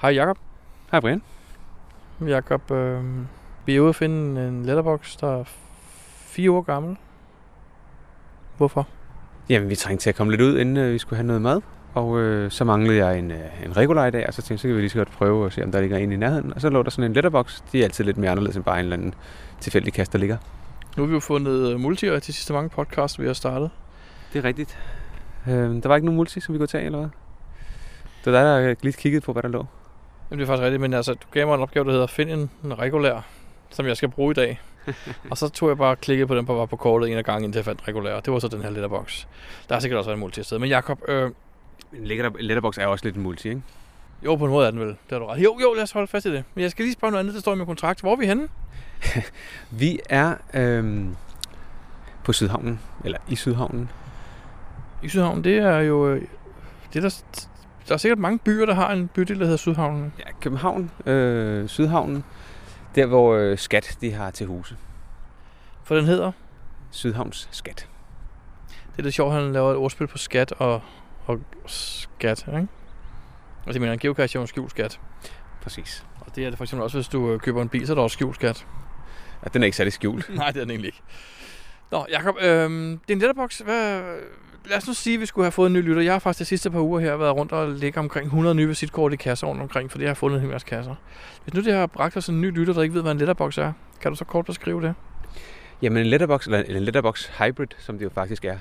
Hej Jakob. Hej Brian. Jakob, øh, vi er ude at finde en letterbox, der er fire år gammel. Hvorfor? Jamen, vi trængte til at komme lidt ud, inden øh, vi skulle have noget mad. Og øh, så manglede jeg en, øh, en regular i dag, og så tænkte jeg, så kan vi lige så godt prøve at se, om der ligger en i nærheden. Og så lå der sådan en letterbox. De er altid lidt mere anderledes end bare en eller anden tilfældig kast, der ligger. Nu har vi jo fundet øh, multier til sidste mange podcasts, vi har startet. Det er rigtigt. Øh, der var ikke nogen multi, som vi kunne tage, eller hvad? Det var der, der lige kiggede på, hvad der lå. Jamen, det er faktisk rigtigt, men altså, du gav mig en opgave, der hedder Find en, en regulær, som jeg skal bruge i dag. og så tog jeg bare og klikkede på den, der var på kortet en af gangen, indtil jeg fandt regulær. Det var så den her letterbox. Der har sikkert også været en multi sted. Men Jakob, øh, En letterbox er også lidt en multi, ikke? jo, på en måde er den vel. Det har du ret. Jo, jo, lad os holde fast i det. Men jeg skal lige spørge noget andet, der står i min kontrakt. Hvor er vi henne? Vi er øhm, på Sydhavnen, eller i Sydhavnen. I Sydhavn, det er jo... øh, Det er der, der er sikkert mange byer, der har en bydel, der hedder Sydhavnen. Ja, København, øh, Sydhavnen, der hvor øh, Skat de har til huse. For den hedder... Sydhavns Skat. Det er lidt sjovt, at han laver et ordspil på skat og, og skat, ikke? Og det mener en geocache er jo en skjult skat. Præcis. Og det er det for eksempel også, hvis du øh, køber en bil, så er der også skjult skat. Ja, den er ikke særlig skjult. Nej, det er den egentlig ikke. Nå, Jacob, øh, det er en letterbox. Hvad, lad os nu sige, at vi skulle have fået en ny lytter. Jeg har faktisk de sidste par uger her været rundt og lægger omkring 100 nye visitkort i kasser rundt omkring, fordi jeg har fundet en hel masse kasser. Hvis nu det har bragt os en ny lytter, der ikke ved, hvad en letterbox er, kan du så kort beskrive det? Jamen en letterbox, eller en letterbox hybrid, som det jo faktisk er,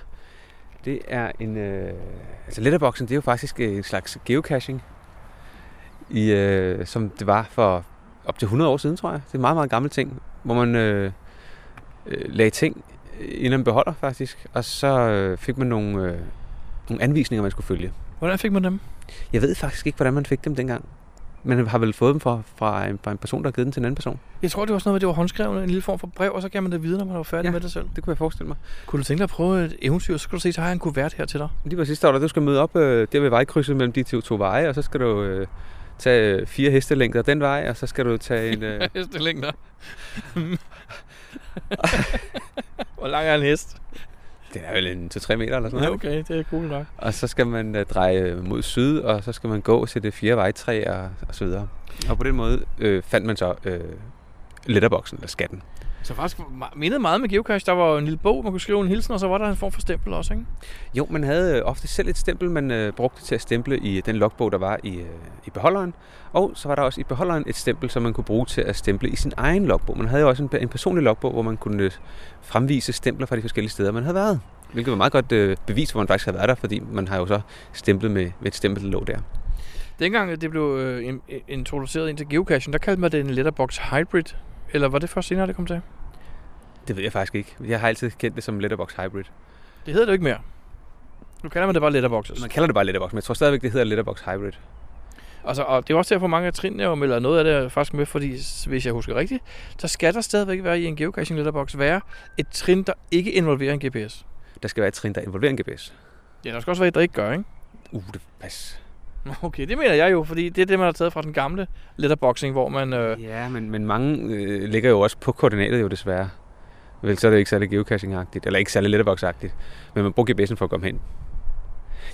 det er en... Øh, altså letterboxen, det er jo faktisk øh, en slags geocaching, i, øh, som det var for op til 100 år siden, tror jeg. Det er en meget, meget gammel ting, hvor man øh, øh, lagde ting i en eller anden beholder, faktisk, og så øh, fik man nogle, øh, nogle anvisninger, man skulle følge. Hvordan fik man dem? Jeg ved faktisk ikke, hvordan man fik dem dengang. Man har vel fået dem fra, fra, en, fra en person, der har givet dem til en anden person. Jeg tror, det var sådan noget, med, det var håndskrevne, en lille form for brev, og så kan man det videre, når man var færdig ja. Ja. med det selv. Det kunne jeg forestille mig. Kunne du tænke dig at prøve et eventyr, så skulle du se, så har jeg en kuvert her til dig. Lige præcis står der, du skal møde op øh, der ved vejkrydset mellem de to, to veje, og så skal du øh, tage øh, fire hestelængder den vej, og så skal du tage en... Øh, Hestelængder. Hvor lang er en hest? den er vel en 2-3 meter eller sådan Ja, noget. okay, det er cool nok. Og så skal man øh, dreje mod syd, og så skal man gå til det fire vejtræ og, og så videre. Og på den måde øh, fandt man så øh, letterboxen eller skatten. Så faktisk ma- mindede meget med geocache. Der var jo en lille bog, man kunne skrive en hilsen, og så var der en form for stempel også, ikke? Jo, man havde øh, ofte selv et stempel, man øh, brugte til at stemple i øh, den logbog, der var i, øh, i beholderen. Og så var der også i beholderen et stempel, som man kunne bruge til at stemple i sin egen logbog. Man havde jo også en, en personlig logbog, hvor man kunne øh, fremvise stempler fra de forskellige steder, man havde været. Hvilket var meget godt øh, bevis, hvor man faktisk havde været der, fordi man har jo så stemplet med, med et stempel, der lå der. Dengang øh, det blev øh, in- in- introduceret ind til geocaching, der kaldte man det en letterbox hybrid. Eller var det først senere, det kom til? Det ved jeg faktisk ikke. Jeg har altid kendt det som Letterbox Hybrid. Det hedder det jo ikke mere. Nu kalder man det bare letterboxes. Man kalder det bare Letterbox, men jeg tror stadigvæk, det hedder Letterbox Hybrid. Altså, og det er også derfor, mange af trinene jo melder noget af det er faktisk med, fordi s- hvis jeg husker rigtigt, så skal der stadigvæk være i en geocaching letterbox være et trin, der ikke involverer en GPS. Der skal være et trin, der involverer en GPS. Ja, der skal også være et, der ikke gør, ikke? Uh, det pas. Nå, Okay, det mener jeg jo, fordi det er det, man har taget fra den gamle letterboxing, hvor man... Øh, Ja, men, men mange øh, ligger jo også på koordinatet jo desværre. Vel, så er det ikke særlig geocaching-agtigt, eller ikke særlig letterbox-agtigt, men man bruger GPS'en for at komme hen.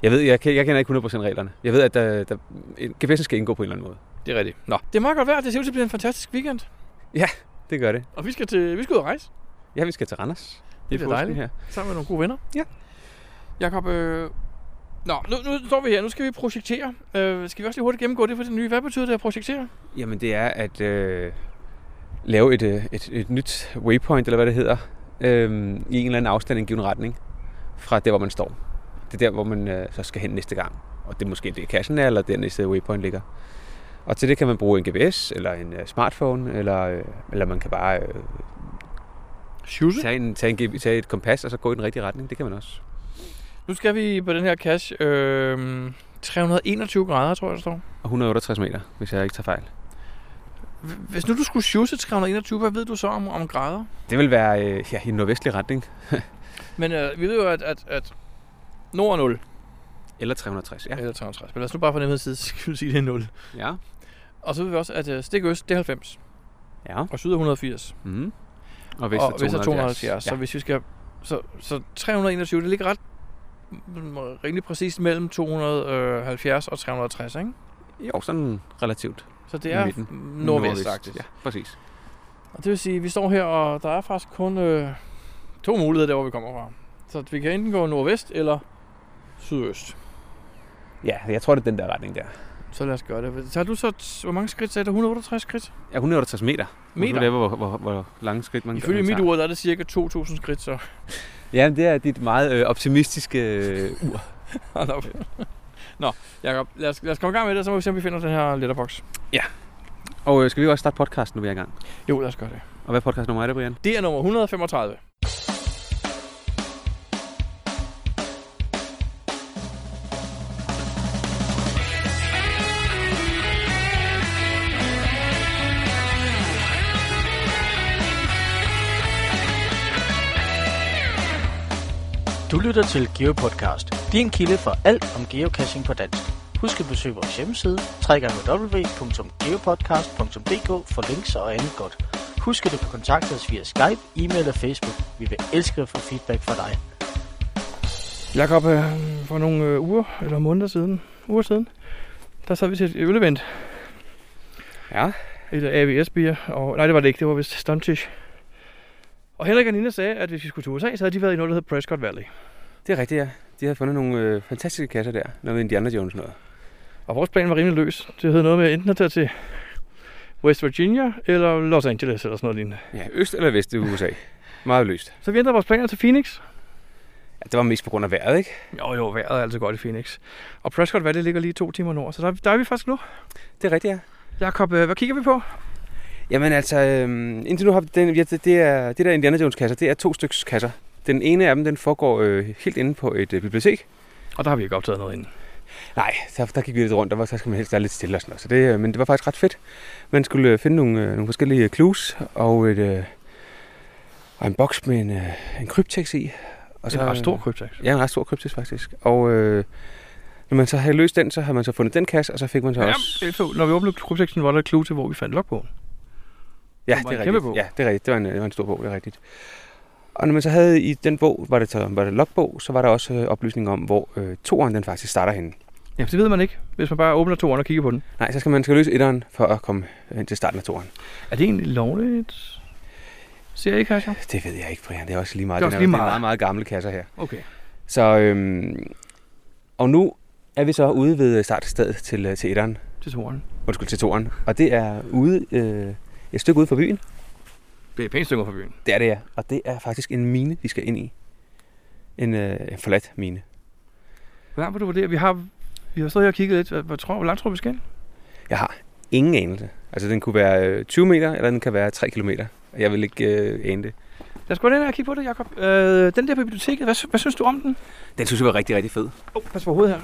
Jeg ved, jeg, kan- jeg kender ikke 100% reglerne. Jeg ved, at der, der, en- GPS'en skal indgå på en eller anden måde. det er rigtigt. Nå, det er meget godt værd. Det ser ud til at blive en fantastisk weekend. Det gør det. Og vi skal, til, vi skal ud og rejse Ja, vi skal til Randers. bliver påsken dejligt. Her. sammen med nogle gode venner. Ja. Jakob, øh, Nå, nu, nu, står vi her. Nu skal vi projektere. Øh, skal vi også lige hurtigt gennemgå det for det nye? Hvad betyder det at projektere? Jamen, det er at øh, lave et, øh, et, et nyt waypoint, eller hvad det hedder, øh, i en eller anden afstand, i en given retning, fra der, hvor man står. Det er der, hvor man øh, så skal hen næste gang. Og det er måske det, kassen er, eller der næste waypoint ligger. Og til det kan man bruge en GPS, eller en øh, smartphone, eller, øh, eller man kan bare øh, Shoes. tage, en, tage, en, G- tage et kompas, og så gå i den rigtige retning. Det kan man også. Nu skal vi på den her cache. Øh, 321 grader, tror jeg, der står. Og 168 meter, hvis jeg ikke tager fejl. H- Hvis nu du skulle shoose 321, hvad ved du så om, om grader? Det vil være øh, ja, i en nordvestlig retning, Men øh, vi ved jo, at, at, at nord er 0, eller 360. ja. Ja. eller 360. Men lad os nu bare for nemheds side skulle sige, det er 0. Ja. Og så ved vi også, at øh, stik øst, det er 90, ja. og syd er 180, Mm. Og og vest er 270. Ja. Så hvis vi skal... Så, så 321, det mm, øh, ligger ret mm, rimelig præcist mellem 270 og 360, ikke? Jo, sådan relativt. Så det er Midten. nordvest faktisk. Ja, præcis. Og det vil sige, at vi står her, og der er faktisk kun øh, to muligheder der, hvor vi kommer fra. Så vi kan enten gå nordvest eller sydøst. Ja, jeg tror, det er den der retning der. Så lad os gøre det. Tager du så, t- hvor mange skridt sagde du? 168 skridt? Ja, 168 meter. Meter? Det er, hvor, hvor, hvor lange skridt man Ifølge man mit tager. ur, der er det cirka 2.000 skridt, så... Ja, det er dit meget øh, optimistiske øh, ur. Hold op. Nå, Jacob, lad os, lad os komme i gang med det, så må vi se, om vi finder den her letterbox. Og øh, skal vi også starte podcasten, nu vi er i gang? Jo, lad os gøre det. Og hvad podcast nummer er det, Brian? Det er nummer 135. Du lytter til GeoPodcast, din kilde for alt om geocaching på dansk. Husk at besøge vores hjemmeside, www.geopodcast.dk for links og andet godt. Husk at du kan kontakte os via Skype, e-mail og Facebook. Vi vil elske at få feedback fra dig. Jakob, øh, for nogle øh, uger eller måneder siden, uger siden, der sad vi til et ølevent, Ja. et AVS-bier, og nej, det var det ikke, det var vist Stuntish. Og Henrik og Nina sagde, at hvis vi skulle til USA, så havde de været i noget, der hedder Prescott Valley. Det er rigtigt, ja. De har fundet nogle øh, fantastiske kasser der. Noget Indiana Jones noget. Og vores plan var rimelig løs. Det hed noget med enten at tage til West Virginia eller Los Angeles eller sådan noget lignende. Ja, øst eller vest i USA. meget løst. Så vi ændrede vores planer til Phoenix. Ja, det var mest på grund af vejret, ikke? Jo, jo, vejret er altid godt i Phoenix. Og Prescott Valley ligger lige to timer nord, så der, der er vi faktisk nu. Det er rigtigt, ja. Jakob, øh, hvad kigger vi på? Jamen altså, øhm, indtil nu har vi den, ja, det, det, er, det der Indiana Jones kasser, det er to styks kasser. Den ene af dem, den foregår øh, helt inde på et øh, bibliotek. Og der har vi ikke optaget noget inden. Nej, der, der gik vi lidt rundt, der, var, der skal man helst være lidt stille og sådan noget. Så det, øh, men det var faktisk ret fedt. Man skulle øh, finde nogle, øh, nogle forskellige clues og, et, øh, og en boks med en, øh, en kryptex i. Og Og så er der øh, en stor kryptax. Ja, en ret stor kryptisk faktisk. Og øh, når man så havde løst den, så har man så fundet den kasse, og så fik man så Ja, også... FH. når vi åbnede krypteksten, var der et clue til, hvor vi fandt logbogen. Ja, som var det er en kæmpe rigtigt. bog. Ja, det er rigtigt. Det var en, det var en stor bog, det er rigtigt. Og når man så havde i den bog, var det, så- var det logbog, så var der også øh, oplysning om, hvor øh, toeren den faktisk starter henne. Ja, det ved man ikke, hvis man bare åbner toeren og kigger på den. Nej, så skal man skal løse etteren for at komme hen til starten af toeren. Er det egentlig lovligt? Ser ikke, Hasha? Det ved jeg ikke, Brian. Det er også lige meget. Det er Den også lige Det er meget. meget, meget gamle kasser her. Okay. Så, øhm, og nu er vi så ude ved startstedet til, øh, til etteren. Til toeren. Undskyld, til toeren. Og det er ude, øh, et stykke ude for byen. Det er et pænt stykke fra byen. Det er det, ja. Og det er faktisk en mine, vi skal ind i. En, øh, en forladt mine. Hvad vil du vurdere? Vi har, vi har stået her og kigget lidt. Hvad, hvad tror, hvor langt tror du, vi skal? Jeg har ingen anelse. Altså, den kunne være øh, 20 meter, eller den kan være 3 kilometer. Og Jeg vil ikke øh, ane det. Lad os gå ind og kigge på det, Jacob. Øh, den der på biblioteket, hvad, sy- hvad synes du om den? Den synes jeg var rigtig, rigtig fed. Åh, oh, pas på hovedet her.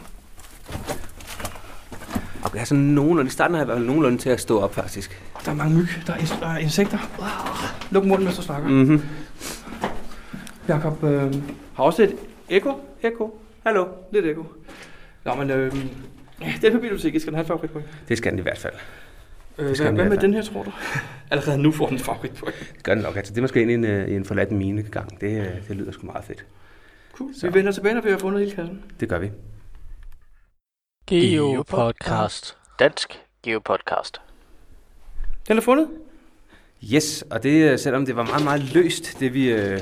Og jeg er sådan nogenlunde, i starten har jeg været nogenlunde til at stå op, faktisk. Der er mange myg, der er, is- der er insekter. Wow. Luk munden, mens du snakker. Mm. Mhm. Jacob øh, har også et ekko. Ekko. Hallo. Lidt ekko. Nå, men øh, den på biblioteket skal den have et favoritpoint. Det skal den i hvert fald. Øh, skal hvad, hvad den i med hvert fald. den her, tror du? Allerede nu får den et favoritpoint. Det gør den nok. Altså, det er måske ind i en, øh, i en forladt minegang. Det, øh, det lyder sgu meget fedt. Cool. Så. Vi vender tilbage, når vi har fundet hele kassen. Det gør vi. GeoPodcast. Dansk GeoPodcast. Den er fundet. Yes, og det, øh, selvom det var meget, meget løst, det vi... Øh,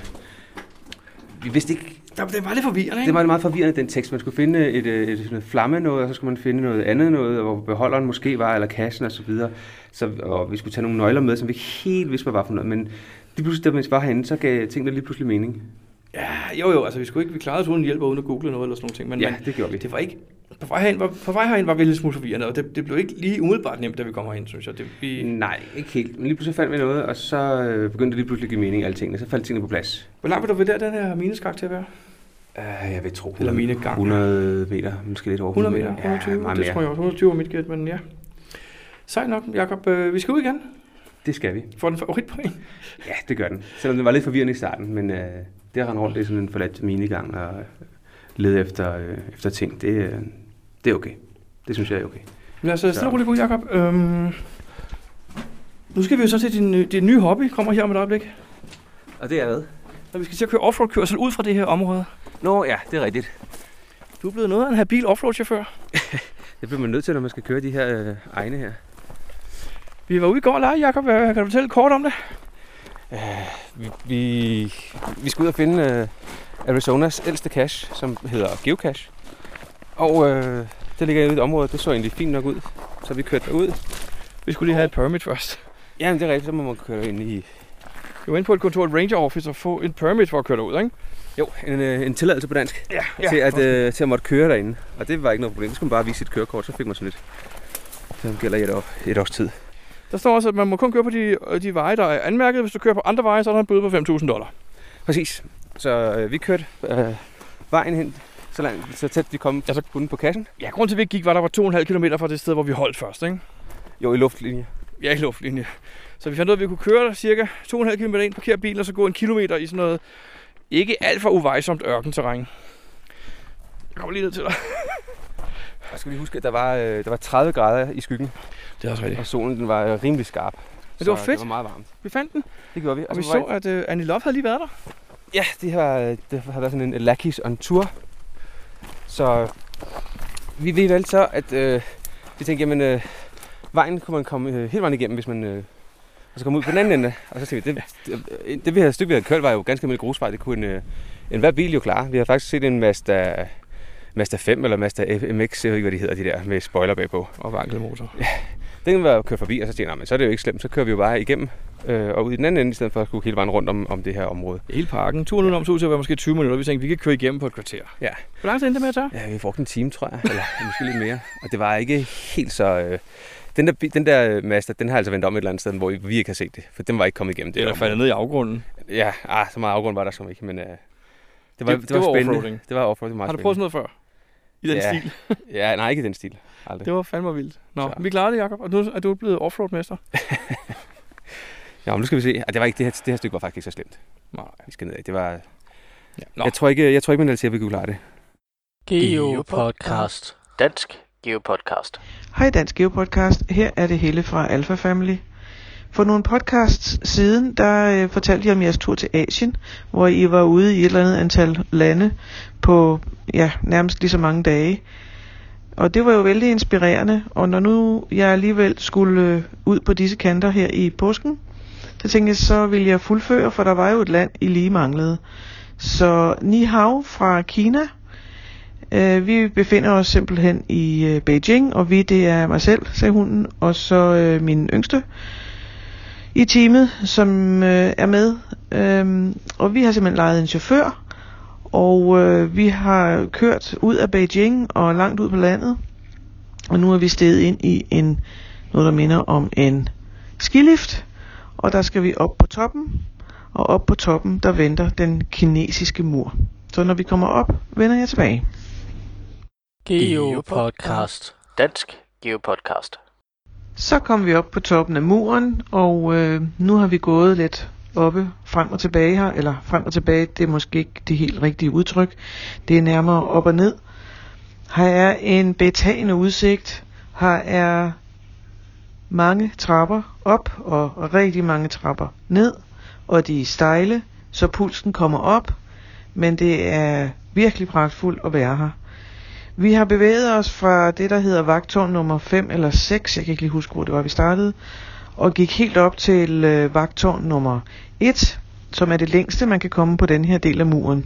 vi vidste ikke Jamen, det var lidt forvirrende, Det ikke? var meget forvirrende, den tekst. Man skulle finde et, øh, et, et flamme noget, og så skulle man finde noget andet noget, og hvor beholderen måske var, eller kassen osv. Så, videre. så og vi skulle tage nogle nøgler med, som vi ikke helt vidste, hvad var for noget. Men lige pludselig, da vi var herinde, så gav tingene lige pludselig mening. Ja, jo, jo, altså vi skulle ikke, vi klarede os uden hjælp og uden at google noget eller sådan noget. Men, Ja, men det gjorde vi. det var ikke, på vej herind var, på vej herind var vi lidt smule forvirrende, og det, det blev ikke lige umiddelbart nemt, da vi kommer hen, synes jeg. Det, vi, Nej, ikke helt. Men lige pludselig fandt vi noget, og så øh, begyndte det lige pludselig at give mening, alle tingene. Så faldt tingene på plads. hvor langt vil du vurdere den her mineskak til at være? Uh, jeg vil tro. Eller mine gang. 100 meter, måske lidt over 100 meter, Ja, 120, meget det mere. tror jeg også. 120 var mit gæt, men ja. Sejt nok, Jacob. Øh, vi skal ud igen. Det skal vi. Får den favoritpoint. Ja, det gør den. Selvom den var lidt forvirrende i starten, men øh, det at rende rundt i sådan en forladt minigang og øh, lede efter, øh, efter ting, det, øh, det er okay. Det synes jeg er okay. Lad os øh, stille og roligt gå ud, Jacob. Øhm, nu skal vi jo så til din, øh, din nye hobby, kommer her om et øjeblik. Og det er hvad? Og vi skal til at køre offroad-kørsel ud fra det her område. Nå ja, det er rigtigt. Du er blevet noget af en habil offroad-chauffør. Det bliver man nødt til, når man skal køre de her øh, egne her. Vi var ude i går og lege, Jacob. Øh, Kan du fortælle kort om det? Vi, vi, vi skal ud og finde øh, Arizonas ældste cache, som hedder Geocache. Og øh, det ligger ude i et område, det så egentlig fint nok ud. Så vi kørte derud. Vi skulle lige have et permit først. Jamen det er rigtigt, så må man køre ind i Vi var inde på et kontor, et ranger office, og få et permit for at køre derud, ikke? jo, en, øh, en tilladelse på dansk Ja, ja, til, at, øh, til at måtte køre derinde. Og det var ikke noget problem. Så skulle man bare vise sit kørekort, så fik man sådan lidt. Så gælder i et, år, et års tid. Der står også, at man må kun køre på de, øh, de veje, der er anmærket. Hvis du kører på andre veje, så er der en bøde på 5.000 dollar. Præcis. Så øh, vi kørte øh, vejen hen, så, langt, så tæt vi kom Ja, ja, så- så kunne på kassen. Ja, grunden til, at vi ikke gik, var, at der var 2,5 km fra det sted, hvor vi holdt først, ikke? Jo, i luftlinje. Ja, i luftlinje. Så vi fandt ud af, at vi kunne køre cirka 2,5 km ind, parkere bilen og så gå en kilometer i sådan noget ikke alt for uvejsomt ørkenterræn. Jeg kommer lige ned til dig. Og skal vi huske, at der var, øh, der var 30 grader i skyggen, Det er også rigtigt. og solen den var øh, rimelig skarp. det Så var fedt. Det var meget varmt. Vi fandt den, Det gjorde vi. og vi på så, Altså, vej- at uh, Annie Love havde lige været der. Ja, det har, øh, det har været sådan en Lackeys on tour. Så vi ved vel så, at øh, vi tænkte, jamen øh, vejen kunne man komme øh, hele vejen igennem, hvis man... Øh, og så komme ud på den anden ende. Og så tænkte vi, det, øh, det, det vi havde, stykke, vi havde kørt, var jo ganske almindelig grusvej. Det kunne en, øh, en hver bil jo klare. Vi har faktisk set en Mazda, Mazda 5 eller Mazda MX, jeg ved ikke, hvad de hedder, de der med spoiler bagpå. Og vankelmotor. Den var kørt forbi, og så tænkte jeg, "Nå, men så er det jo ikke slemt, så kører vi jo bare igennem øh, og ud i den anden ende, i stedet for at skulle hele vejen rundt om, om det her område. Hele parken. Turen udenom så ud til at være måske 20 minutter. Vi tænkte, vi kan køre igennem på et kvarter. Ja. Hvor lang tid endte det med at tage? Ja, vi brugte en time, tror jeg, eller måske lidt mere. Og det var ikke helt så... Øh, den der, bi- den der øh, Mazda, den har altså vendt om et eller andet sted, hvor vi ikke har set det, for den var ikke kommet igennem det. Det er område. faldet ned i afgrunden. Ja, ah, så meget afgrund var der som ikke, men øh, det, var, det, det det, var, var spændende. offroading. Det var offroading, det var Har meget du prøvet sådan noget før? I den Ja. stil. spændende. Ja, nej, ikke i den stil. Aldrig. Det var fandme vildt. Nå, Så. vi klarede det, Jacob. Og nu er du blevet offroad-mester. Ja, men nu skal vi se. Ah, det, var ikke, det, her, det her stykke var faktisk ikke så slemt. Nej. Vi skal ned af. Det var, Ja. Nå, jeg, tror ikke, jeg tror ikke, man altid, at vi kunne klare det. Geo Podcast. Dansk Geo Podcast. Hej Dansk Geo Podcast, her er det Helle fra Alpha Family. For nogle podcasts siden, der øh, fortalte jeg om jeres tur til Asien, hvor I var ude i et eller andet antal lande på ja, nærmest lige så mange dage. Og det var jo vældig inspirerende, og når nu jeg alligevel skulle øh, ud på disse kanter her i påsken, så tænkte jeg, så ville jeg fuldføre, for der var jo et land, I lige manglede. Så Ni Hao fra Kina, Øh, vi befinder os simpelthen i øh, Beijing, og vi det er mig selv, sagde hunden, og så øh, min yngste i teamet, som øh, er med. Øhm, og vi har simpelthen lejet en chauffør, og øh, vi har kørt ud af Beijing og langt ud på landet. Og nu er vi steget ind i en noget, der minder om en skilift, og der skal vi op på toppen, og op på toppen, der venter den kinesiske mur. Så når vi kommer op, vender jeg tilbage. Geo Podcast. Dansk Geo Podcast. Så kom vi op på toppen af muren, og øh, nu har vi gået lidt oppe frem og tilbage her, eller frem og tilbage, det er måske ikke det helt rigtige udtryk, det er nærmere op og ned. Her er en betagende udsigt, her er mange trapper op og rigtig mange trapper ned, og de er stejle, så pulsen kommer op, men det er virkelig pragtfuldt at være her. Vi har bevæget os fra det, der hedder vagtårn nummer 5 eller 6, jeg kan ikke lige huske, hvor det var, vi startede, og gik helt op til øh, vagtårn nummer 1, som er det længste, man kan komme på den her del af muren.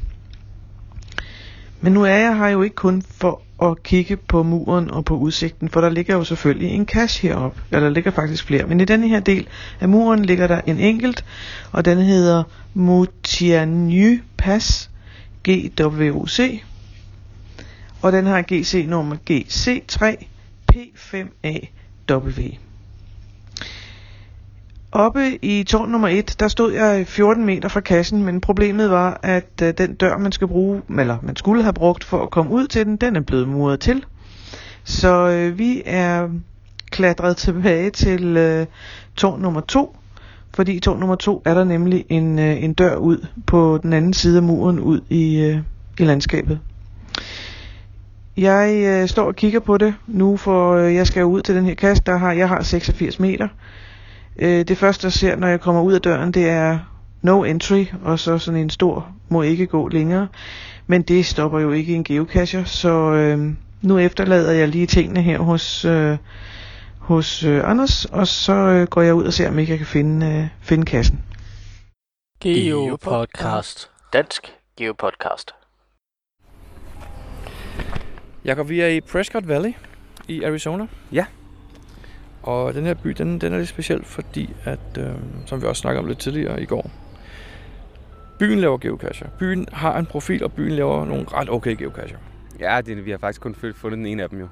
Men nu er jeg her jo ikke kun for at kigge på muren og på udsigten, for der ligger jo selvfølgelig en cache heroppe, eller der ligger faktisk flere, men i denne her del af muren ligger der en enkelt, og den hedder Motiany Pass GWOC, og den har GC nummer GC3P5AW. Oppe i tårn nummer 1, der stod jeg 14 meter fra kassen, men problemet var, at øh, den dør, man skal bruge, eller man skulle have brugt for at komme ud til den, den er blevet muret til. Så øh, vi er klatret tilbage til øh, tårn nummer 2, fordi i tårn nummer 2 er der nemlig en, øh, en dør ud på den anden side af muren ud i, øh, i landskabet. Jeg øh, står og kigger på det nu, for øh, jeg skal ud til den her kast, der har, jeg har 86 meter. Øh, det første, jeg ser, når jeg kommer ud af døren, det er no entry, og så sådan en stor, må ikke gå længere. Men det stopper jo ikke en geocacher, så øh, nu efterlader jeg lige tingene her hos, øh, hos øh, Anders, og så øh, går jeg ud og ser, om ikke jeg kan finde, øh, finde kassen. Geo Podcast. Dansk Geo Podcast. Jakob, vi er i Prescott Valley i Arizona. Ja. Og den her by, den, den er lidt speciel, fordi at, øh, som vi også snakkede om lidt tidligere i går, byen laver geocacher. Byen har en profil, og byen laver nogle ret okay geocacher. Ja, det, vi har faktisk kun fø- fundet den ene af dem jo.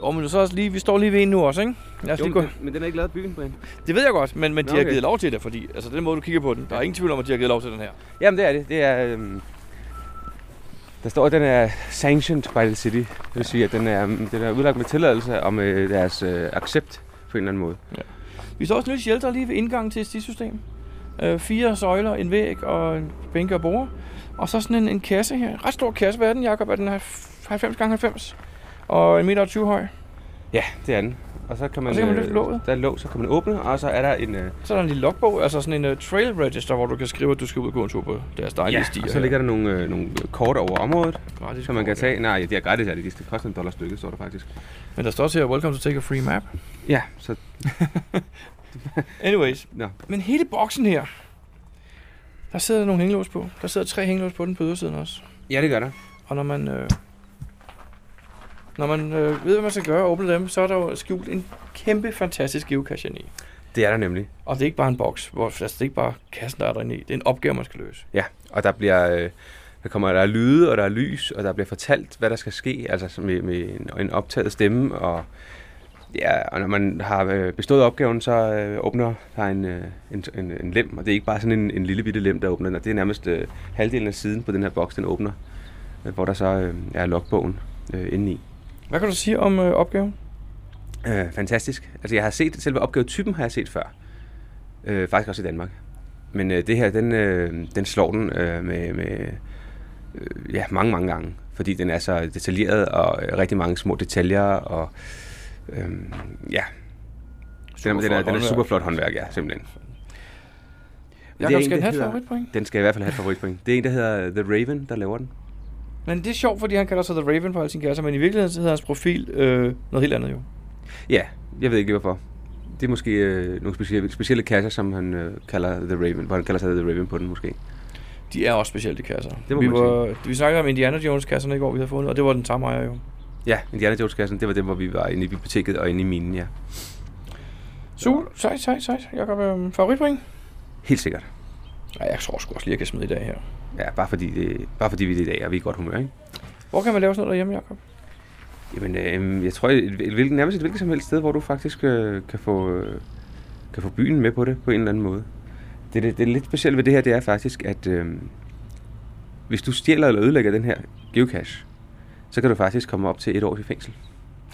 Og men så også lige, vi står lige ved en nu også, ikke? Lad os jo lige gå. men, men den er ikke lavet i byen, Brian. Det ved jeg godt, men, men de Nå, har okay. givet lov til det, fordi altså den måde, du kigger på den, der er ingen tvivl om, at de har givet lov til den her. Jamen, det er det. Det er... Øhm, der står, at den er sanctioned by the city. Det vil sige, at den er, øhm, den er udlagt med tilladelse og med deres øh, accept på en eller anden måde. Vi står også nyt shelter lige ved indgangen til et stisystem. Øh, fire søjler, en væg og en bænke og bord. Og så sådan en, en kasse her. En Ret stor kasse. Hvad er den, Jacob? Er den halv- 90 gange 90 Og en meter og 20 høj. Ja, det er den. Og så kan man, Og så kan man løfte øh, låget. Der er låg, så kan man åbne, og så er der en... Øh, Så er der en lille logbog, altså sådan en uh, trail register, hvor du kan skrive, at du skal ud og gå en tur på deres dejlige ja, stier. og så ligger der nogle, øh, nogle kort over området, gratis som man kan kort, ja. tage. Nej, det er gratis, er det. Det koster en dollar stykket, står der faktisk. Men der står også her, welcome to take a free map. Ja, så Anyways, Nå. men hele boksen her, der sidder nogle hængelås på. Der sidder tre hængelås på den på ydersiden også. ja, det gør der. Og når man, øh, når man øh, ved, hvad man skal gøre og åbne dem, så er der jo skjult en kæmpe, fantastisk geocache i. Det er der nemlig. Og det er ikke bare en boks, hvor altså, det er ikke bare kassen, der er derinde i. Det er en opgave, man skal løse. Ja, og der bliver... Øh, der kommer der er lyde, og der er lys, og der bliver fortalt, hvad der skal ske, altså som med, med en, en optaget stemme, og, ja, og når man har øh, bestået opgaven, så øh, åbner der en, øh, en, en, en lem, og det er ikke bare sådan en, en lille bitte lem, der åbner den, og det er nærmest øh, halvdelen af siden på den her boks, den åbner, øh, hvor der så øh, er logbogen øh, inde i. Hvad kan du sige om øh, opgaven? Øh, fantastisk. Altså jeg har set, selve opgavetypen har jeg set før. Øh, faktisk også i Danmark. Men øh, det her, den, øh, den slår den øh, med, med øh, ja, mange, mange gange. Fordi den er så detaljeret og øh, rigtig mange små detaljer. Og, øh, ja, den, er- den, er, den er håndværk. super flot håndværk, ja, simpelthen. Men det Jakob, er en, skal den der have et hedder- favoritpoint? Den skal i hvert fald have et favoritpoint. Det er en, der hedder The Raven, der laver den. Men det er sjovt, fordi han kalder sig The Raven på alle sine kasser, men i virkeligheden så hedder hans profil øh, noget helt andet jo. Ja, jeg ved ikke lige hvorfor. Det er måske øh, nogle specielle, specielle kasser, som han øh, kalder The Raven, hvor han kalder sig The Raven på den måske. De er også specielle, de kasser. Det må vi, man var, vi snakkede om Indiana Jones-kasserne i går, vi havde fundet, og det var den samme ejer jo. Ja, Indiana Jones-kassen, det var den, hvor vi var inde i biblioteket og inde i minen, ja. Sul, sejt, sejt, sejt. Jakob, øh, favoritpoint? Helt sikkert. Nej, jeg tror sgu også lige, jeg kan smide i dag her. Ja, bare fordi, det, bare fordi vi er det i dag, og vi er i godt humør, ikke? Hvor kan man lave sådan noget derhjemme, Jakob? Jamen, øh, jeg tror, et, et, et, hvilket- nærmest et hvilket som helst sted, hvor du faktisk øh, kan, få, øh, kan få byen med på det på en eller anden måde. Det, det, det lidt specielle ved det her, det er faktisk, at øh, hvis du stjæler eller ødelægger den her geocache, så kan du faktisk komme op til et år i fængsel.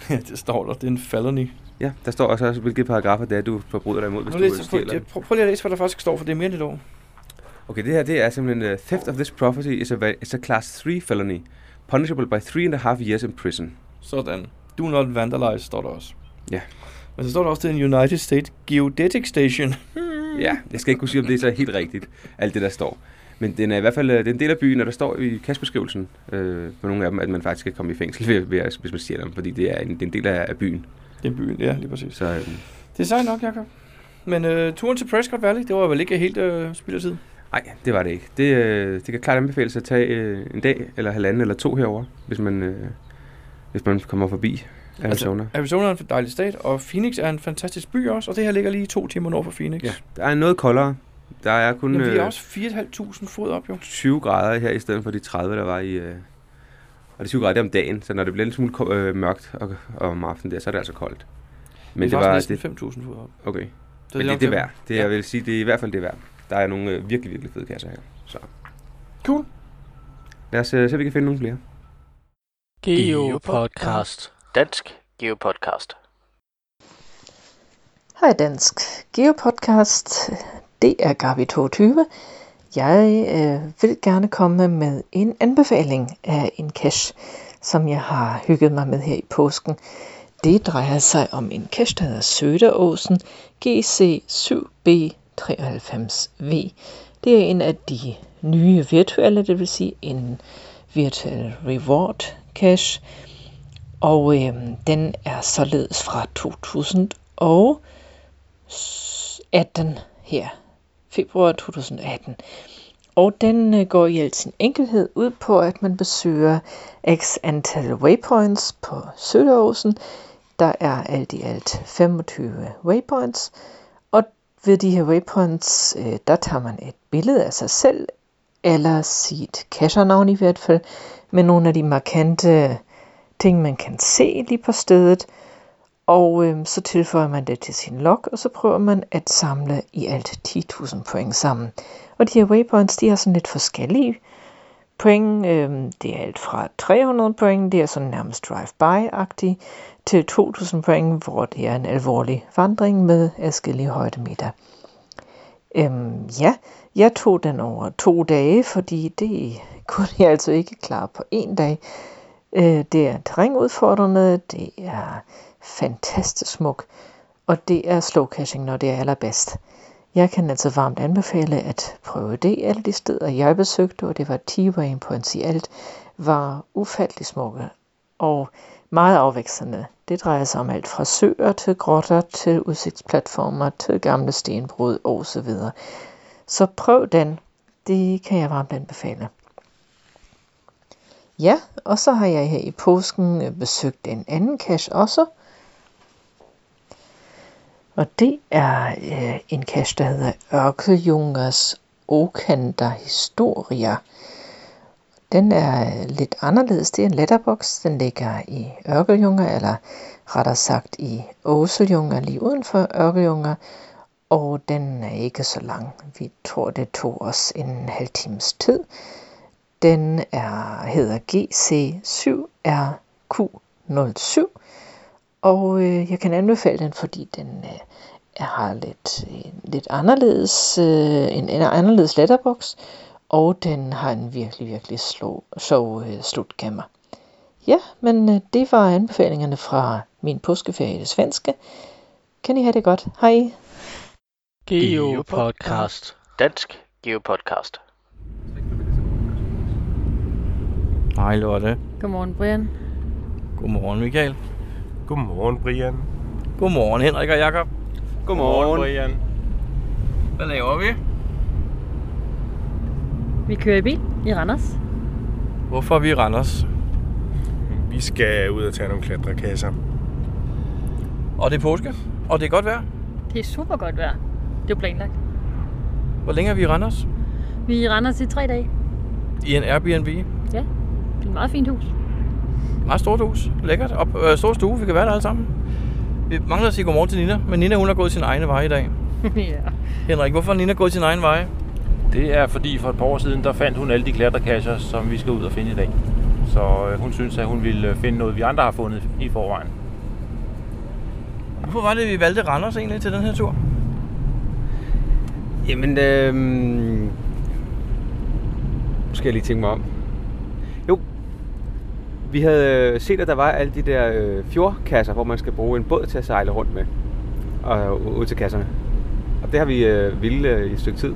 Ja, det står der. Det er en felony. Ja, der står også, også hvilke paragrafer det er, du forbryder dig imod, hvis Nu du læser, prøv, stjæler. prøv, prøv, lige at læse, hvad der faktisk står, for det er mere end et år. Okay, det her det er simpelthen uh, Theft of this property is a, va- is a class 3 felony, punishable by three and a half years in prison. Sådan. Do not vandalize, står der også. Ja. Men så står der også, det er en United States Geodetic Station. Ja, jeg skal ikke kunne sige, om det er så helt rigtigt, alt det der står. Men den er i hvert fald øh, det er en del af byen, og der står i kastbeskrivelsen øh, på nogle af dem, at man faktisk kan komme i fængsel, ved, ved, at- hvis man stjæler dem, fordi det er en, det er en del af, af byen. Det er byen, ja, lige præcis. Så øh, Det er sejt nok, Jakob. Men øh, turen til Prescott Valley, det var vel ikke helt øh, spild af tid. nej, det var det ikke. Det, øh, det kan klart anbefales at tage øh, en dag, eller halvanden, eller to herover, hvis man, øh, hvis man kommer forbi Arizona. Altså, Arizona er en dejlig stat, og Phoenix er en fantastisk by også, og det her ligger lige to timer nord for Phoenix. ja, der er noget koldere. Der er kun... Men vi er øh, også 4.500 fod op, jo. 20 grader her, i stedet for de 30, der var i... Øh, og det er 20 grader det er om dagen, så når det bliver lidt smule ko- øh, mørkt og, og om aftenen der, så er det altså koldt. Men det var... Det, næsten 5.000 fod op. okay. Så Men nok det, det er til- værd. Det, jeg vil sige, det er i hvert fald det er værd. Der er nogle øh, virkelig, virkelig fede kasser her. Så Cool. lad os øh, se, om vi kan finde nogle flere. Geo Podcast. Dansk Geo Podcast. Hej Dansk Geopodcast, det er Gavi 22. Jeg øh, vil gerne komme med en anbefaling af en cache, som jeg har hygget mig med her i påsken. Det drejer sig om en cache, der hedder Søderåsen GC7B93V. Det er en af de nye virtuelle, det vil sige en virtual reward cache, Og øh, den er således fra 2018 her, februar 2018. Og den øh, går i al sin enkelhed ud på, at man besøger x antal waypoints på Søderåsen. Der er alt i alt 25 waypoints. Og ved de her waypoints, øh, der tager man et billede af sig selv, eller sit cachernavn i hvert fald, med nogle af de markante ting, man kan se lige på stedet. Og øh, så tilføjer man det til sin log, og så prøver man at samle i alt 10.000 point sammen. Og de her waypoints, de har sådan lidt forskellige point. Øh, det er alt fra 300 point, det er sådan nærmest drive-by-agtigt, til 2.000 point, hvor det er en alvorlig vandring med adskillige højdemeter. Øhm, ja, jeg tog den over to dage, fordi det kunne jeg altså ikke klare på en dag. Øh, det er terrænudfordrende, det er fantastisk smuk, og det er slow caching, når det er allerbedst. Jeg kan altså varmt anbefale at prøve det. Alle de steder, jeg besøgte, og det var T-Wayne på en alt, var ufattelig smukke og meget afvekslende. Det drejer sig om alt fra søer til grotter til udsigtsplatformer til gamle stenbrud osv. Så prøv den. Det kan jeg varmt anbefale. Ja, og så har jeg her i påsken øh, besøgt en anden cache også. Og det er øh, en cache, der hedder Ørkeljungers Okanter Historia. Den er øh, lidt anderledes. Det er en letterbox. Den ligger i Ørkeljunger, eller rettere sagt i Åseljunger, lige uden for Ørkeljunger. Og den er ikke så lang. Vi tror, det tog os en halv times tid. Den er, hedder GC7RQ07, og øh, jeg kan anbefale den, fordi den øh, har lidt, øh, lidt anderledes, øh, en, en anderledes letterbox, og den har en virkelig, virkelig slå, sjov øh, slutgamma. Ja, men øh, det var anbefalingerne fra min påskeferie i det svenske. Kan I have det godt. Hej! Geopodcast. Dansk Geopodcast. Hej Lotte. Godmorgen, Brian. Godmorgen Michael. Godmorgen, Brian. Godmorgen Henrik og Jakob. Godmorgen. Brian. Hvad laver vi? Vi kører i bil i Randers. Hvorfor er vi i Randers? Vi skal ud og tage nogle klatrekasser. Og det er påske, og det er godt vejr. Det er super godt vejr. Det er jo planlagt. Hvor længe er vi i Randers? Vi er i Randers i tre dage. I en Airbnb. Det er et meget fint hus. Meget stort hus. Lækkert. Op, øh, stor stue. Vi kan være der alle sammen. Vi mangler at sige godmorgen til Nina, men Nina hun har gået sin egne vej i dag. ja. Henrik, hvorfor er Nina gået sin egen vej? Det er fordi for et par år siden, der fandt hun alle de klatrekasser, som vi skal ud og finde i dag. Så øh, hun synes, at hun ville øh, finde noget, vi andre har fundet i forvejen. Hvorfor var det, vi valgte Randers egentlig til den her tur? Jamen, øh, skal jeg lige tænke mig om. Jo, vi havde øh, set, at der var alle de der øh, fjordkasser, hvor man skal bruge en båd til at sejle rundt med. Og øh, ud til kasserne. Og det har vi øh, ville øh, i et stykke tid.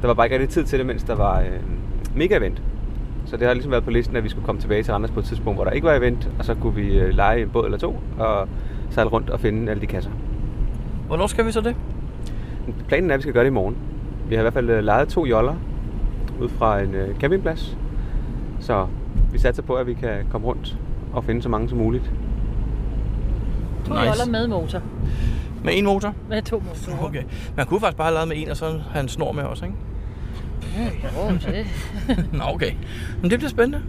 Der var bare ikke rigtig tid til det, mens der var øh, mega-event. Så det har ligesom været på listen, at vi skulle komme tilbage til Randers på et tidspunkt, hvor der ikke var event, og så kunne vi øh, lege en båd eller to og sejle rundt og finde alle de kasser. Hvornår skal vi så det? Planen er, at vi skal gøre det i morgen. Vi har i hvert fald øh, lejet to joller ud fra en øh, campingplads. Så vi satser på, at vi kan komme rundt og finde så mange som muligt. To Nice. nice. joller med motor. Med en motor? Med to motorer. Okay. Man kunne faktisk bare have lavet med en, og så have en snor med også, ikke? Jo, det. Nå, okay. Men det bliver spændende.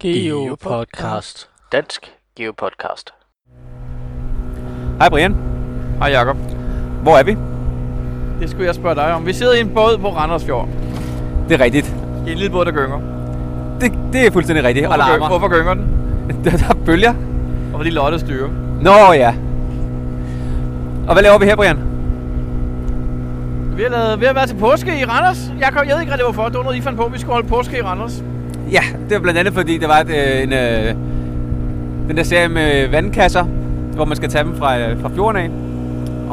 Geopodcast. Dansk Geopodcast. Hej Brian, Hej Jakob. hvor er vi? Det skulle jeg spørge dig om. Vi sidder i en båd på Randersfjord. Det er rigtigt. Det er en lille båd, der gynger. Det, det er fuldstændig rigtigt. Og Hvorfor, gynger, larmer. hvorfor gynger den? Der, der er bølger. Og fordi Lotte styrer. Nå ja. Og hvad laver vi her, Brian? Vi har, lavet, vi har været til påske i Randers. Jeg, kom, jeg ved ikke rigtig hvorfor. Det var noget, I fandt på, at vi skulle holde påske i Randers. Ja, det var blandt andet fordi, der var et, øh, en, øh, den der serie med vandkasser, hvor man skal tage dem fra, øh, fra fjorden af.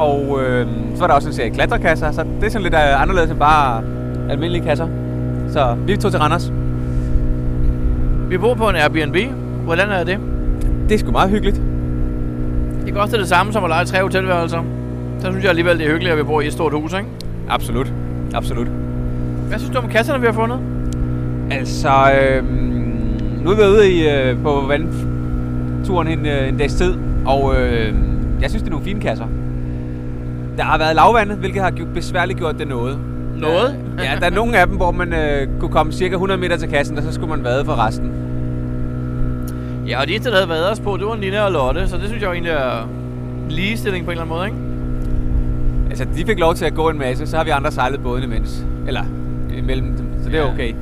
Og øh, så var der også en serie klatrekasser, så det er sådan lidt øh, anderledes end bare almindelige kasser. Så vi tog til Randers. Vi bor på en Airbnb. Hvordan er det? det er sgu meget hyggeligt. Det koster det samme som at lege tre hotelværelser. Så synes jeg alligevel, det er hyggeligt, at vi bor i et stort hus, ikke? Absolut. Absolut. Hvad synes du om kasserne, vi har fundet? Altså, øh, nu er vi ude i, øh, på vandturen en, øh, en dags tid, og øh, jeg synes, det er nogle fine kasser. Der har været lavvandet, hvilket har gjort, besværligt gjort det noget. Noget? Øh, ja, der er nogle af dem, hvor man øh, kunne komme cirka 100 meter til kassen, og så skulle man vade for resten. Ja, og de eneste, der havde været os på, det var Nina og Lotte, så det synes jeg jo egentlig er ligestilling på en eller anden måde, ikke? Altså, de fik lov til at gå en masse, så har vi andre sejlet båden imens. Eller imellem dem, så det er Ja. okay.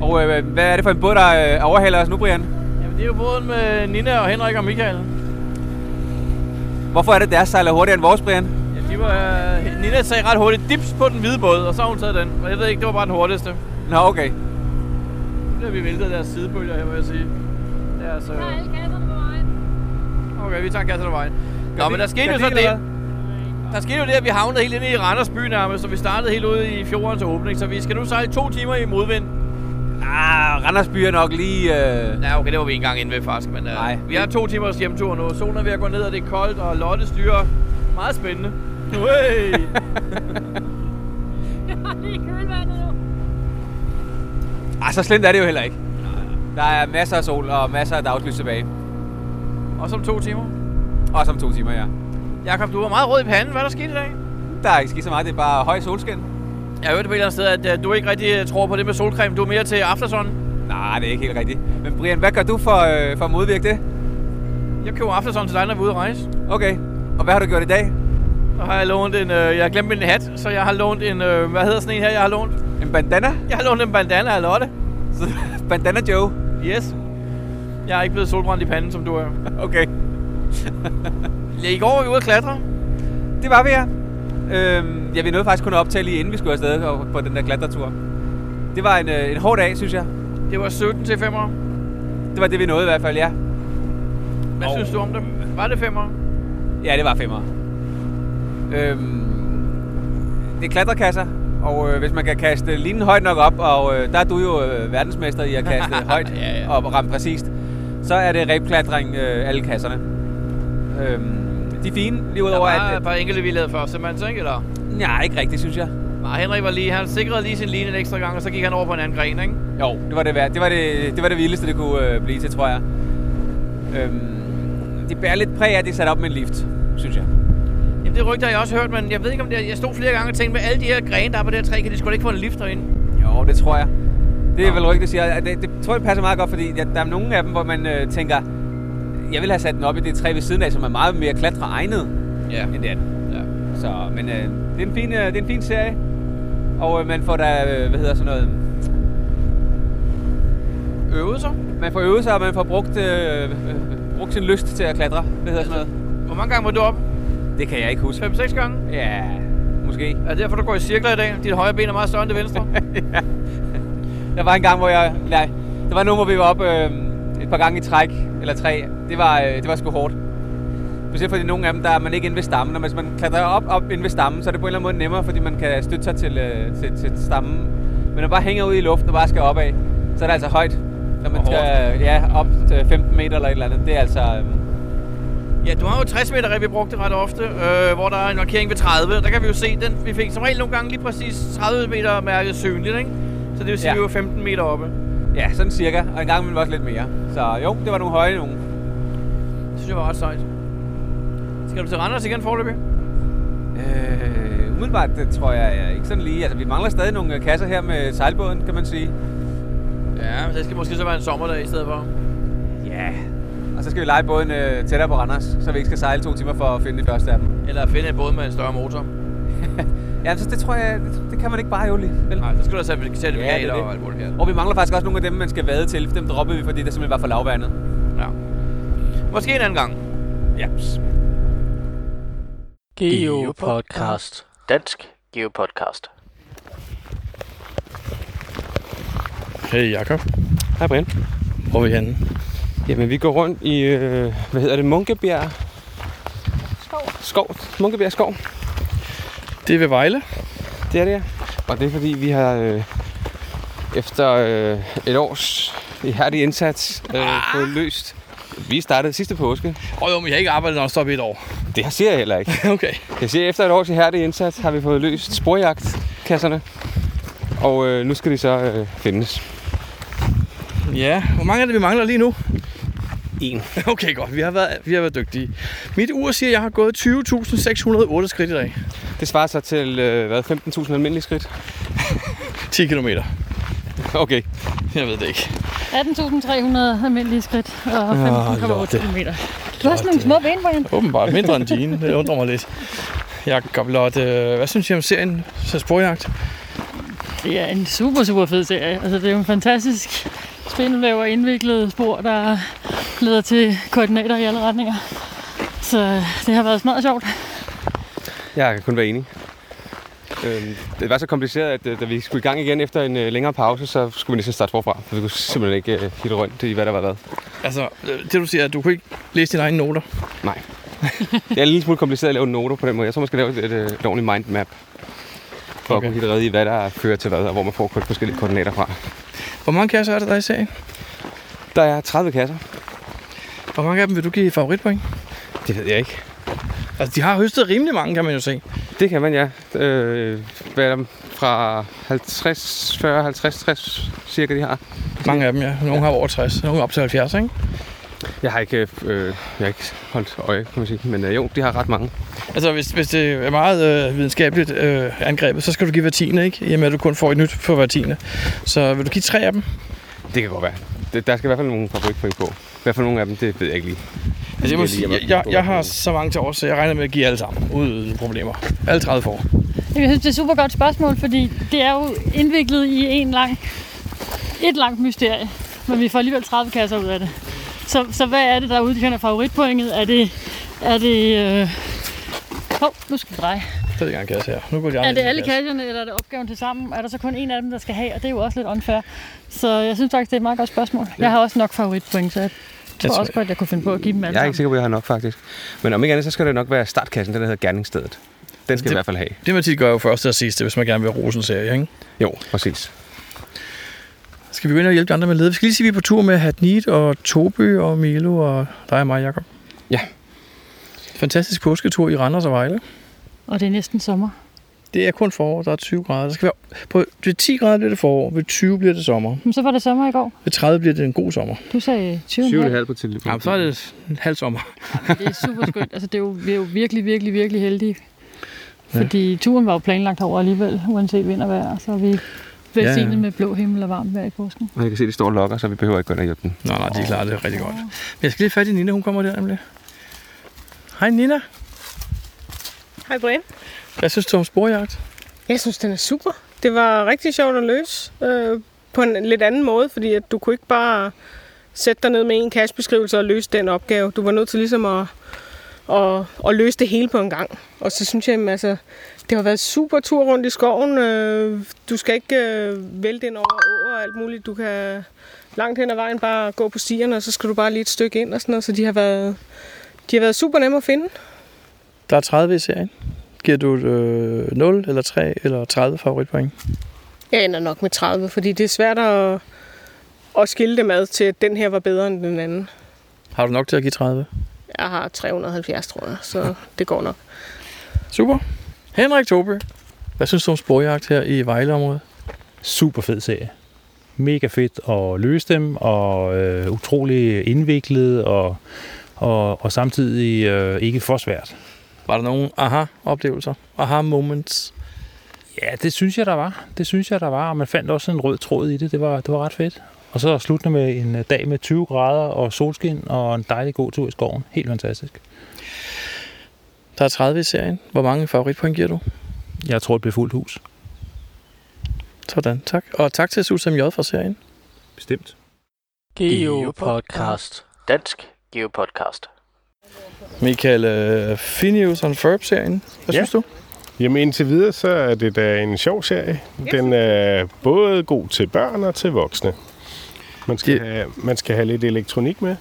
Og øh, hvad er det for en båd, der øh, overhaler os nu, Brian? Jamen, det er jo båden med Nina og Henrik og Michael. Hvorfor er det, deres sejler hurtigere end vores, Brian? Ja, de var... Nina sagde ret hurtigt, dips på den hvide båd, og så har hun taget den. Og jeg ved ikke, det var bare den hurtigste. Nu Nå, okay. bliver vi væltet af deres sidebølger her, vil jeg sige. Det er altså... Der er alle kasserne på vejen. Okay, vi tager kassen af vejen. Nå, de- men der skete gør jo de så eller det. hvad? Der skete jo det, at vi havnede helt inde i Randers by nærmest, så vi startede helt ude i fjordens åbning, så vi skal nu sejle to timer i modvind. Ah, Randersby er nok lige... Øh... Ja, okay, det var vi ikke engang inde ved faktisk, men Nej. øh, vi har to timers hjemtur nu. Solen er ved at gå ned, og det er koldt, og Lotte styrer. Meget spændende. Hey. Det er kølvandet jo. Ah, så slemt er det jo heller ikke. Der er masser af sol og masser af dagslys tilbage. og som to timer. Også om to timer, ja. Jakob, du var meget rød i panden. Hvad er der sket i dag? Der er ikke sket så meget, det er bare høj solskin. Jeg hørte på et eller andet sted, at øh, du ikke rigtig øh, tror på det med solcreme. Du er mere til aftersun. Nej, det er ikke helt rigtigt. Men Brian, hvad gør du for, øh, for at modvirke det? Jeg køber aftersun til dig, når vi er ude at rejse. Okay, og hvad har du gjort i dag? Og har jeg lånt en... Øh, jeg har glemt min hat, så jeg har lånt en... Øh, hvad hedder sådan en her, jeg har lånt? En bandana? Jeg har lånt en bandana af Lotte. Så, bandana Joe? Yes. Jeg er ikke blevet solbrændt i panden, som du er. Okay. I går var vi ude at klatre. Det var vi, ja. Øhm, ja, vi nåede faktisk kun at optage lige inden vi skulle afsted og- på den der klatretur. Det var en, øh, en hård dag, synes jeg. Det var 17 til 5'er. Det var det, vi nåede i hvert fald, ja. Hvad Og- synes du om det? Var det 5'er? Ja, det var femmer. Øhm, det er klatrekasser, og øh, hvis man kan kaste linen højt nok op, og øh, der er du jo øh, verdensmester i at kaste højt Ja, ja. og ramme præcist, så er det rebklatring øh, alle kasserne. Øhm, de er fine, lige Der udover var at... et par enkelte, vi lavede først, simpelthen, så ikke? Eller? Nej, ikke rigtigt, synes jeg. Nej, Henrik var lige, han sikrede lige sin line en ekstra gang, og så gik han over på en anden gren, ikke? Jo, det var det, værd. det, var det, det, var det vildeste, det kunne øh, blive til, tror jeg. Øhm, det bærer lidt præg af, at det er sat op med en lift, synes jeg. Jamen, det rygte har jeg også hørt, men jeg ved ikke om det er, Jeg stod flere gange og tænkte, med alle de her grene, der er på det her træ, kan de sgu da ikke få en lift derinde? Jo, det tror jeg. Det er vel rigtigt, siger. jeg. Det, det tror jeg passer meget godt, fordi der, der er nogle af dem, hvor man øh, tænker, jeg vil have sat den op i det træ ved siden af, som er meget mere klatreegnet, Ja. end det er den. ja. Så, men øh, det, er en fin, øh, det er en fin serie, og øh, man får da, øh, hvad hedder sådan noget, Øvede sig. man får øvet sig, og man får brugt, øh, øh, brugt sin lyst til at klatre, hvad hedder sådan noget. Hvor mange gange var du op? Det kan jeg ikke huske. 5-6 gange? Ja, måske. Er det derfor, du går i cirkler i dag? Dit højre ben er meget større end det venstre. Der var en gang, hvor jeg... Nej, der var nogen, hvor vi var oppe øh, et par gange i træk, eller tre. Det var, øh, det var sgu hårdt. Specielt fordi nogle af dem, der er man ikke inde ved stammen. Og hvis man klatrer op, op inde ved stammen, så er det på en eller anden måde nemmere, fordi man kan støtte sig til, øh, til, til stammen. Men når man bare hænger ud i luften og bare skal opad, så er det altså højt. Når man Og skal ja, op til 15 meter eller et eller andet. Det er altså... Øh, Ja, du har jo 60 meter, vi brugte ret ofte, øh, hvor der er en markering ved 30. Der kan vi jo se, den, vi fik som regel nogle gange lige præcis 30 meter mærket synligt, ikke? Så det vil sige, Ja. at vi var 15 meter oppe. ja, sådan cirka. Og en gang imellem også lidt mere. Så jo, det var nogle høje nogle. Det synes jeg var ret sejt. Skal du til Randers igen forløbig? Øh, umiddelbart det tror jeg øh, ikke sådan lige. Altså, vi mangler stadig nogle øh, kasser her med sejlbåden, kan man sige. Ja, så det skal måske så være en sommerdag i stedet for. Ja. Yeah. Og så skal vi lege båden øh, tættere på Randers, så vi ikke skal sejle to timer for at finde det første af dem. Eller finde en båd med en større motor. Ja, så det tror jeg, det, det kan man ikke bare jo lige. Vel? Nej, så skal du sætte certifikater det ja, er det. og alt muligt her. Og vi mangler faktisk også nogle af dem, man skal vade til, for dem droppede vi, fordi der simpelthen var for lavvandet. Ja. Måske en anden gang. Ja. Geopodcast. Dansk Geopodcast. Hey Jakob, Hej Brian. hvor er vi henne? Jamen, vi går rundt i, øh, hvad hedder det, Munkebjerg Skov. Skov. Munkebjerg Skov, Det er ved Vejle. det er det her. Og det er fordi, vi har øh, efter øh, et års ihærdig indsats øh, fået løst Vi startede sidste påske. Åh oh, jo, men jeg har ikke arbejdet non-stop i et år. Det siger jeg heller ikke. okay. Jeg siger, efter et års ihærdig indsats har vi fået løst sporjagtkasserne. Og øh, nu skal de så øh, findes. Ja, hvor mange er det, vi mangler lige nu? En. Okay, godt. Vi har været, vi har været dygtige. Mit ur siger, at jeg har gået 20.608 skridt i dag. Det svarer så til øh, hvad, 15.000 almindelige skridt. 10 km. Okay. Jeg ved det ikke. 18.300 almindelige skridt og 15,8 km. Du har sådan nogle små ben, Brian. Åbenbart mindre end dine. Det undrer mig lidt. Jakob Lotte, øh, hvad synes I om serien Så Sporjagt? Det er en super, super fed serie. Altså, det er jo en fantastisk spindelvæv og indviklede spor, der leder til koordinater i alle retninger. Så øh, det har været smadret sjovt. Jeg kan kun være enig. Øhm, det var så kompliceret, at øh, da vi skulle i gang igen efter en øh, længere pause, så skulle vi næsten starte forfra. For vi kunne simpelthen ikke øh, hitte rundt i, hvad der var hvad. Altså, øh, det du siger, at du kunne ikke læse dine egne noter. Det er en lille smule kompliceret at lave noter på den måde. Jeg tror, man skal lave et, et, øh, et ordentligt mindmap. Okay. For okay. at kunne hitte redde i, hvad der fører til hvad, og hvor man får kun forskellige koordinater fra. Hvor mange kasser er der, der er i serien? Der er 30 kasser. Hvor mange af dem vil du give favoritpoint? Det ved jeg ikke. Altså, de har høstet rimelig mange, kan man jo se. Det kan man, ja. Øh, hvad er der fra 50, 40, 50, 60 cirka, de har. Mange af dem, ja. Nogle har over 60, nogle op til 70, ikke? Jeg har ikke, øh, jeg har ikke holdt øje, kan man sige. Men øh, jo, de har ret mange. Altså, hvis, hvis det er meget øh, videnskabeligt øh, angrebet, så skal du give hver tiende, ikke? I og med, at du kun får et nyt for hver tiende. Så vil du give tre af dem? Det kan godt være. Det, der skal i hvert fald nogle favoritpoint på. Hvad for nogle af dem, det ved jeg ikke lige. Altså, jeg, må Jeg sige, lige- jeg, jeg, jeg har så mange til over, så jeg regner med at give alle sammen. Uden problemer. Alle 30 får. Jeg synes, det er et super godt spørgsmål, fordi det er jo indviklet i en lang, et langt mysterie. Men vi får alligevel 30 kasser ud af det. Så, så hvad er det, der udkender favoritpointet? Er det... Er det øh... Hov, nu skal vi dreje. Tredje gang kasse her. Nu går de andre Er det i alle kasse. kasserne, eller er det opgaven til sammen? Er der så kun en af dem, der skal have? Og det er jo også lidt unfair. Så jeg synes faktisk, det er et meget godt spørgsmål. Jeg har også nok favoritpoint, så jeg tror, tror- også godt, jeg kunne finde på at give dem alle Jeg er sammen. ikke sikker på, at jeg har nok, faktisk. Men om ikke andet, så skal det nok være startkassen, den der hedder Gerningsstedet. Den skal det... i Det- hvert fald have. Det man tit gør jo først og sidst, hvis man gerne vil rose en serie, ikke? Jo, præcis. Skal vi gå ind og hjælpe de andre med at lede? Vi skal lige sige, at vi er på tur med Hatnit og Toby og Milo og dig og mig, Jacob. Ja. Fantastisk påsketur i Randers og Vejle. Og det er næsten sommer. Det er kun forår, der er 20 grader. Der skal være, på, ved 10 grader bliver det forår, ved 20 bliver det sommer, Men så var det sommer i går. ved 30 bliver det en god sommer. Du sagde 20 på telefonen. Jamen, så er det en halv sommer. Det er super skønt. Altså, det er jo, vi er jo virkelig, virkelig, virkelig heldige. Fordi turen var jo planlagt over alligevel, uanset vind og vejr. Så er vi velsignet Ja, ja, ja. ja. med blå himmel og varmt vejr i påsken. Og jeg kan se, de store lokker, så vi behøver ikke gå ind og hjælpe dem. Nå, nej, de klarer det rigtig godt. Men jeg skal lige have fat i Nina, hun kommer der nemlig. Hej Nina, Hej Brian. hvad synes du om sporjagt? Jeg synes, den er super. Det var rigtig sjovt at løse øh, på en lidt anden måde, fordi at du kunne ikke bare sætte dig ned med en cashbeskrivelse og løse den opgave. Du var nødt til ligesom at, at, at løse det hele på en gang. Og så synes jeg, at altså, det har været super tur rundt i skoven. Øh, Du skal ikke øh, vælte ind over åer og alt muligt. Du kan langt hen ad vejen bare gå på stierne, og så skal du bare lige et stykke ind og sådan noget. Så de har været, de har været super nemme at finde. Der er 30 i serien. Giver du et, øh, 0 eller 3 eller 30 favoritpoint? Jeg ender nok med 30, fordi det er svært at, at skille det med til, at den her var bedre end den anden. Har du nok til at give 30? Jeg har 370, tror jeg, så det går nok. Super. Henrik Tobe, hvad synes du om sporjagt her i Vejleområdet? super fed serie. Mega fedt at løse dem, og øh, utrolig indviklet, og, og, og samtidig øh, ikke for svært. Var der nogle aha-oplevelser? Aha-moments? Ja, det synes jeg, der var. Det synes jeg, der var, og man fandt også en rød tråd i det. Det var, det var ret fedt. Og så sluttende med en øh, dag med 20 grader og solskin og en dejlig god tur i skoven. Helt fantastisk. Der er 30 i serien. Hvor mange favoritpoint giver du? Jeg tror, det blev fuldt hus. Sådan, tak. Og tak til Susan J. fra serien. Bestemt. Geopodcast. Dansk Geopodcast. Michael øh, Phineas on Ferb-serien. Hvad Ja. synes du? Jamen indtil videre, så er det da en sjov serie. Den er både god til børn og til voksne. Man skal, Det- have, man skal have lidt elektronik med.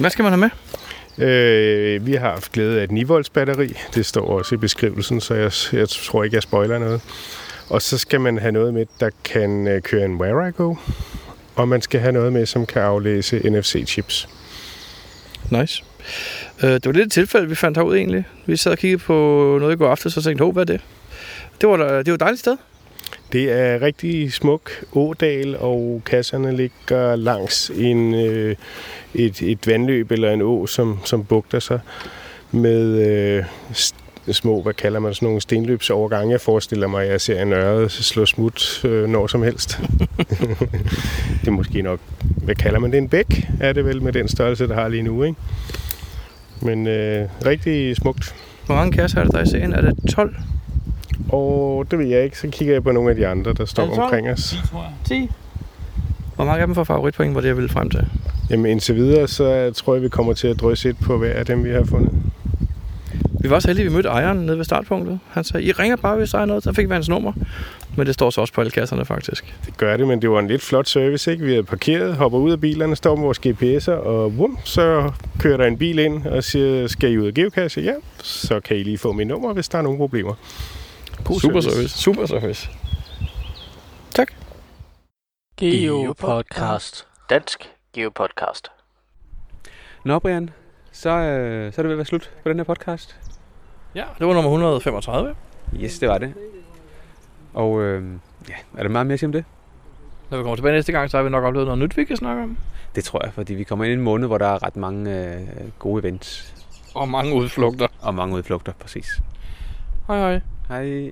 Hvad skal man have med? Øh, vi har haft glæde af et 9 volts batteri. Det står også i beskrivelsen, så jeg, jeg tror ikke, jeg spoiler noget. Og så skal man have noget med, der kan øh, køre en Where I Go. Og man skal have noget med, som kan aflæse NFC-chips. Nice. Øh, det var lidt et tilfælde, vi fandt herud egentlig. Vi sad og kiggede på noget i går aftes og tænkte, hov, hvad er det? Det var, da- det var et dejligt sted. Det er rigtig smuk ådal, og kasserne ligger langs en, øh, et, et vandløb eller en å, som, som bugter sig med øh, st- små, hvad kalder man sådan nogle stenløbsovergange. Jeg forestiller mig, at jeg ser en ørred slå smut øh, når som helst. det er måske nok, hvad kalder man det, en bæk? Er det vel med den størrelse, der har lige nu, ikke? Men øh, rigtig smukt. Hvor mange kasser er det, der er i serien? Er det 12? Og det ved jeg ikke. Så kigger jeg på nogle af de andre, der står Er det tolv? omkring os. 10. Hvor mange af dem får favoritpoint, var det, jeg ville frem til? Jamen indtil videre, så tror jeg, vi kommer til at drysse et på hver af dem, vi har fundet. Vi var så heldige, at vi mødte ejeren nede ved startpunktet. Han sagde, I ringer bare, hvis der er noget. Så fik vi hans nummer. Men det står så også på alle kasserne, faktisk. Det gør det, men det var en lidt flot service, ikke? Vi havde parkeret, hopper ud af bilerne, står med vores GPS'er, og vum, så kører der en bil ind og siger, skal I ud af geocache? Ja, så kan I lige få mit nummer, hvis der er nogle problemer. God Super service. Super service. Tak. Geopodcast. Dansk Geopodcast. Nå, Brian, så, øh, så er det ved at være slut på den her podcast. Ja, det var nummer 135. Yes, det var det. Og øh, ja, er der meget mere at sige om det? Når vi kommer tilbage næste gang, så har vi nok oplevet noget nyt, vi kan snakke om. Det tror jeg, fordi vi kommer ind i en måned, hvor der er ret mange øh, gode events. Og mange udflugter. Og mange udflugter, præcis. Hej hej. Hej.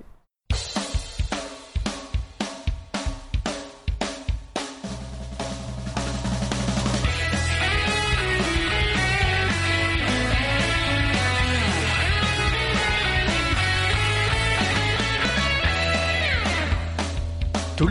Du